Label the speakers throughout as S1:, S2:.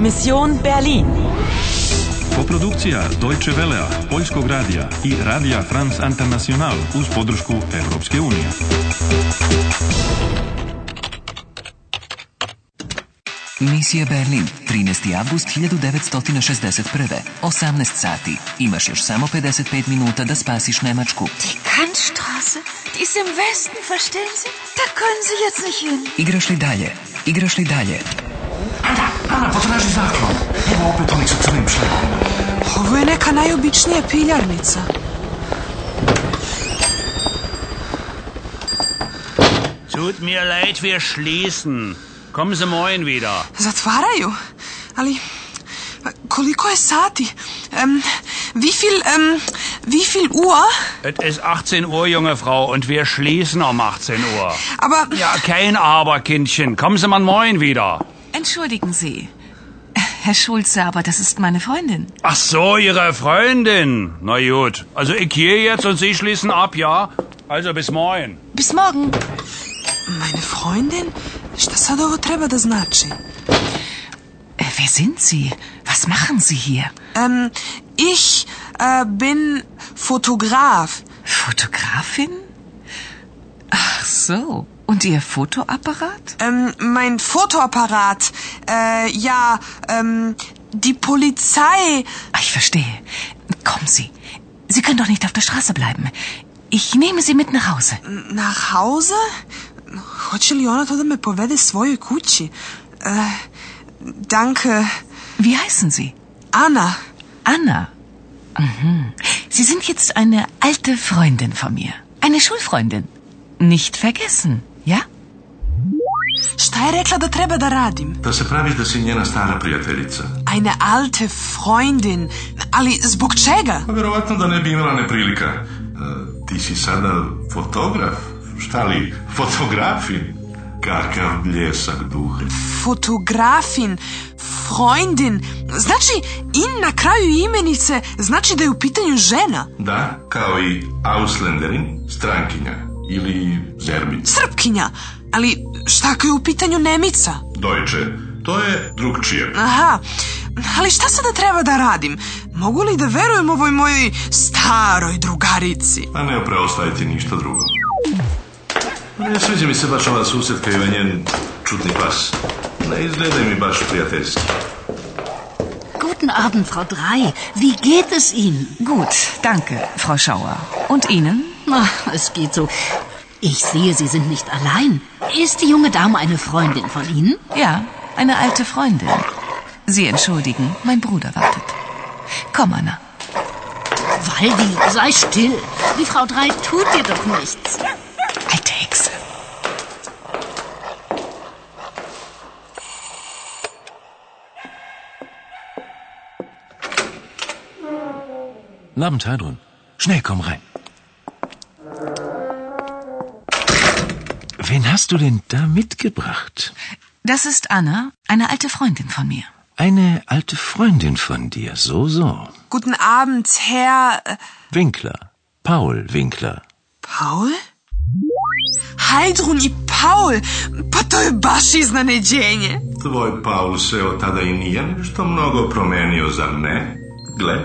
S1: Mission Berlin.
S2: Koprodukcija Deutsche Velea, Poljskog radija i Radija France International uz podršku Europske unije.
S3: Misija Berlin, 13. avgust 1961. 18 sati. Imaš još samo 55 minuta da spasiš Nemačku.
S4: Die Kantstraße, die ist im Westen, verstehen Sie? Da können Sie jetzt nicht hin.
S3: Igraš li dalje? Igraš li dalje?
S5: Ana, Ana, potraži zaklon. Evo opet onih sa crnim šlepom.
S6: Ovo je neka najobičnija piljarnica.
S7: Tut mir leid, wir schließen. Kommen Sie morgen wieder.
S6: Zatvaraju? Ali pa, koliko je sati? Em, wie viel, em, wie viel Uhr?
S7: Es ist 18 Uhr, junge Frau, und wir schließen um 18 Uhr.
S6: Aber
S7: Ja, kein Aber, Kindchen. Kommen Sie mal morgen wieder.
S8: Entschuldigen Sie. Herr Schulze, aber das ist meine Freundin.
S7: Ach so, Ihre Freundin. Na gut. Also ich gehe jetzt und Sie schließen ab, ja? Also bis morgen.
S8: Bis morgen.
S6: meine Freundin? Šta sad ovo treba da znači?
S8: Äh, wer sind Sie? Was machen Sie hier?
S6: Em, ich äh, bin Fotograf.
S8: Fotografin? Ach so. Und Ihr Fotoapparat?
S6: Ähm, mein Fotoapparat. Äh, ja, ähm, die Polizei.
S8: Ah, Ich verstehe. Kommen Sie. Sie können doch nicht auf der Straße bleiben. Ich nehme Sie mit nach Hause.
S6: Nach Hause? Hoće li ona to da me povede svojoj kući? Äh, danke.
S8: Wie heißen Sie?
S6: Anna.
S8: Anna. Mhm. Sie sind jetzt eine alte Freundin von mir. Eine Schulfreundin. Nicht vergessen, ja?
S6: Šta je rekla da treba da radim?
S9: Da se praviš da si njena stara prijateljica.
S6: Eine alte Freundin. Ali zbog čega?
S9: Pa vjerovatno da ne bi imala neprilika. E, ti si sada fotograf? Šta li, fotografin? Kakav bljesak duhe.
S6: Fotografin. Freundin. Znači, in na kraju imenice znači da je u pitanju žena.
S9: Da, kao i Ausländerin, strankinja. Ili Zerbic.
S6: Srpkinja. Ali šta ako je u pitanju Nemica?
S9: Deutsche. To je drugčije.
S6: Aha, ali šta sada treba da radim? Mogu li da verujem ovoj mojoj staroj drugarici?
S9: A ne preostaje ti ništa drugo. Ne sviđa mi se baš ova susjedka i ovaj njen čudni pas. Ne izgledaj mi baš prijateljski.
S4: Guten Abend, Frau Drei. Wie geht es Ihnen?
S8: Gut, danke, Frau Schauer. Und Ihnen?
S4: Ach, es geht so. Ich sehe, Sie sind nicht allein. Ist die junge Dame eine Freundin von Ihnen?
S8: Ja, eine alte Freundin. Sie entschuldigen, mein Bruder wartet. Komm, Anna.
S4: Waldi, sei still. Die Frau Drei tut dir doch nichts.
S8: Alte Hexe.
S10: Guten Abend, Heidrun. Schnell, komm rein. Wen hast du denn da mitgebracht?
S8: Das ist Anna, eine alte Freundin von mir.
S10: Eine alte Freundin von dir, so, so.
S6: Guten Abend, Herr... äh,
S10: Winkler. Paul Winkler.
S6: Paul? Heidrun i Paul, pa to je baš iznenađenje.
S9: Tvoj Paul se od tada i nije nešto mnogo promenio, zar ne? Gle,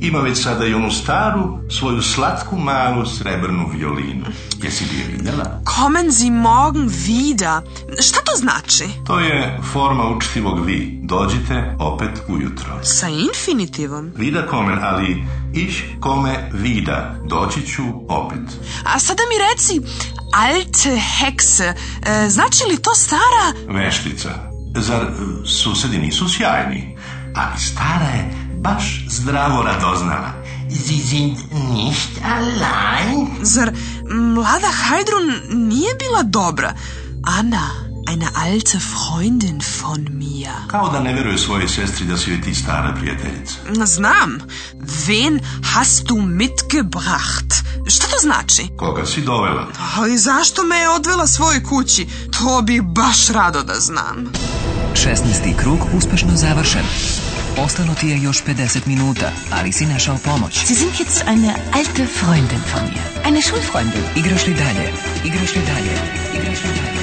S9: ima već sada i onu staru, svoju slatku malu srebrnu violinu. Jesi li je vidjela?
S6: Kommen Sie morgen wieder. Šta to znači?
S9: To je forma učtivog vi. Dođite opet ujutro.
S6: Sa infinitivom.
S9: Vida komen, ali iš kome vida. Doći ću opet.
S6: A sada mi reci, alte hekse, e, znači li to stara...
S9: Veštica. Zar e, susedi nisu sjajni? Ali stara je baš zdravo radoznala. Sie sind nicht allein.
S6: Zar mlada Heidrun nije bila dobra? Ana, eine alte Freundin von mir.
S9: Kao da ne veruje svojoj sestri da si joj ti stara prijateljica.
S6: Znam. Wen hast du mitgebracht? Šta to znači?
S9: Koga si dovela?
S6: Ali zašto me je odvela svojoj kući? To bi baš rado da znam.
S3: 16. krug uspešno završen. Ostalo ti je još 50 minuta, ali si našao pomoć.
S8: Sie sind jetzt eine alte Freundin von mir. Eine Schulfreundin.
S3: Igraš li dalje? Igraš li dalje? Igraš li dalje?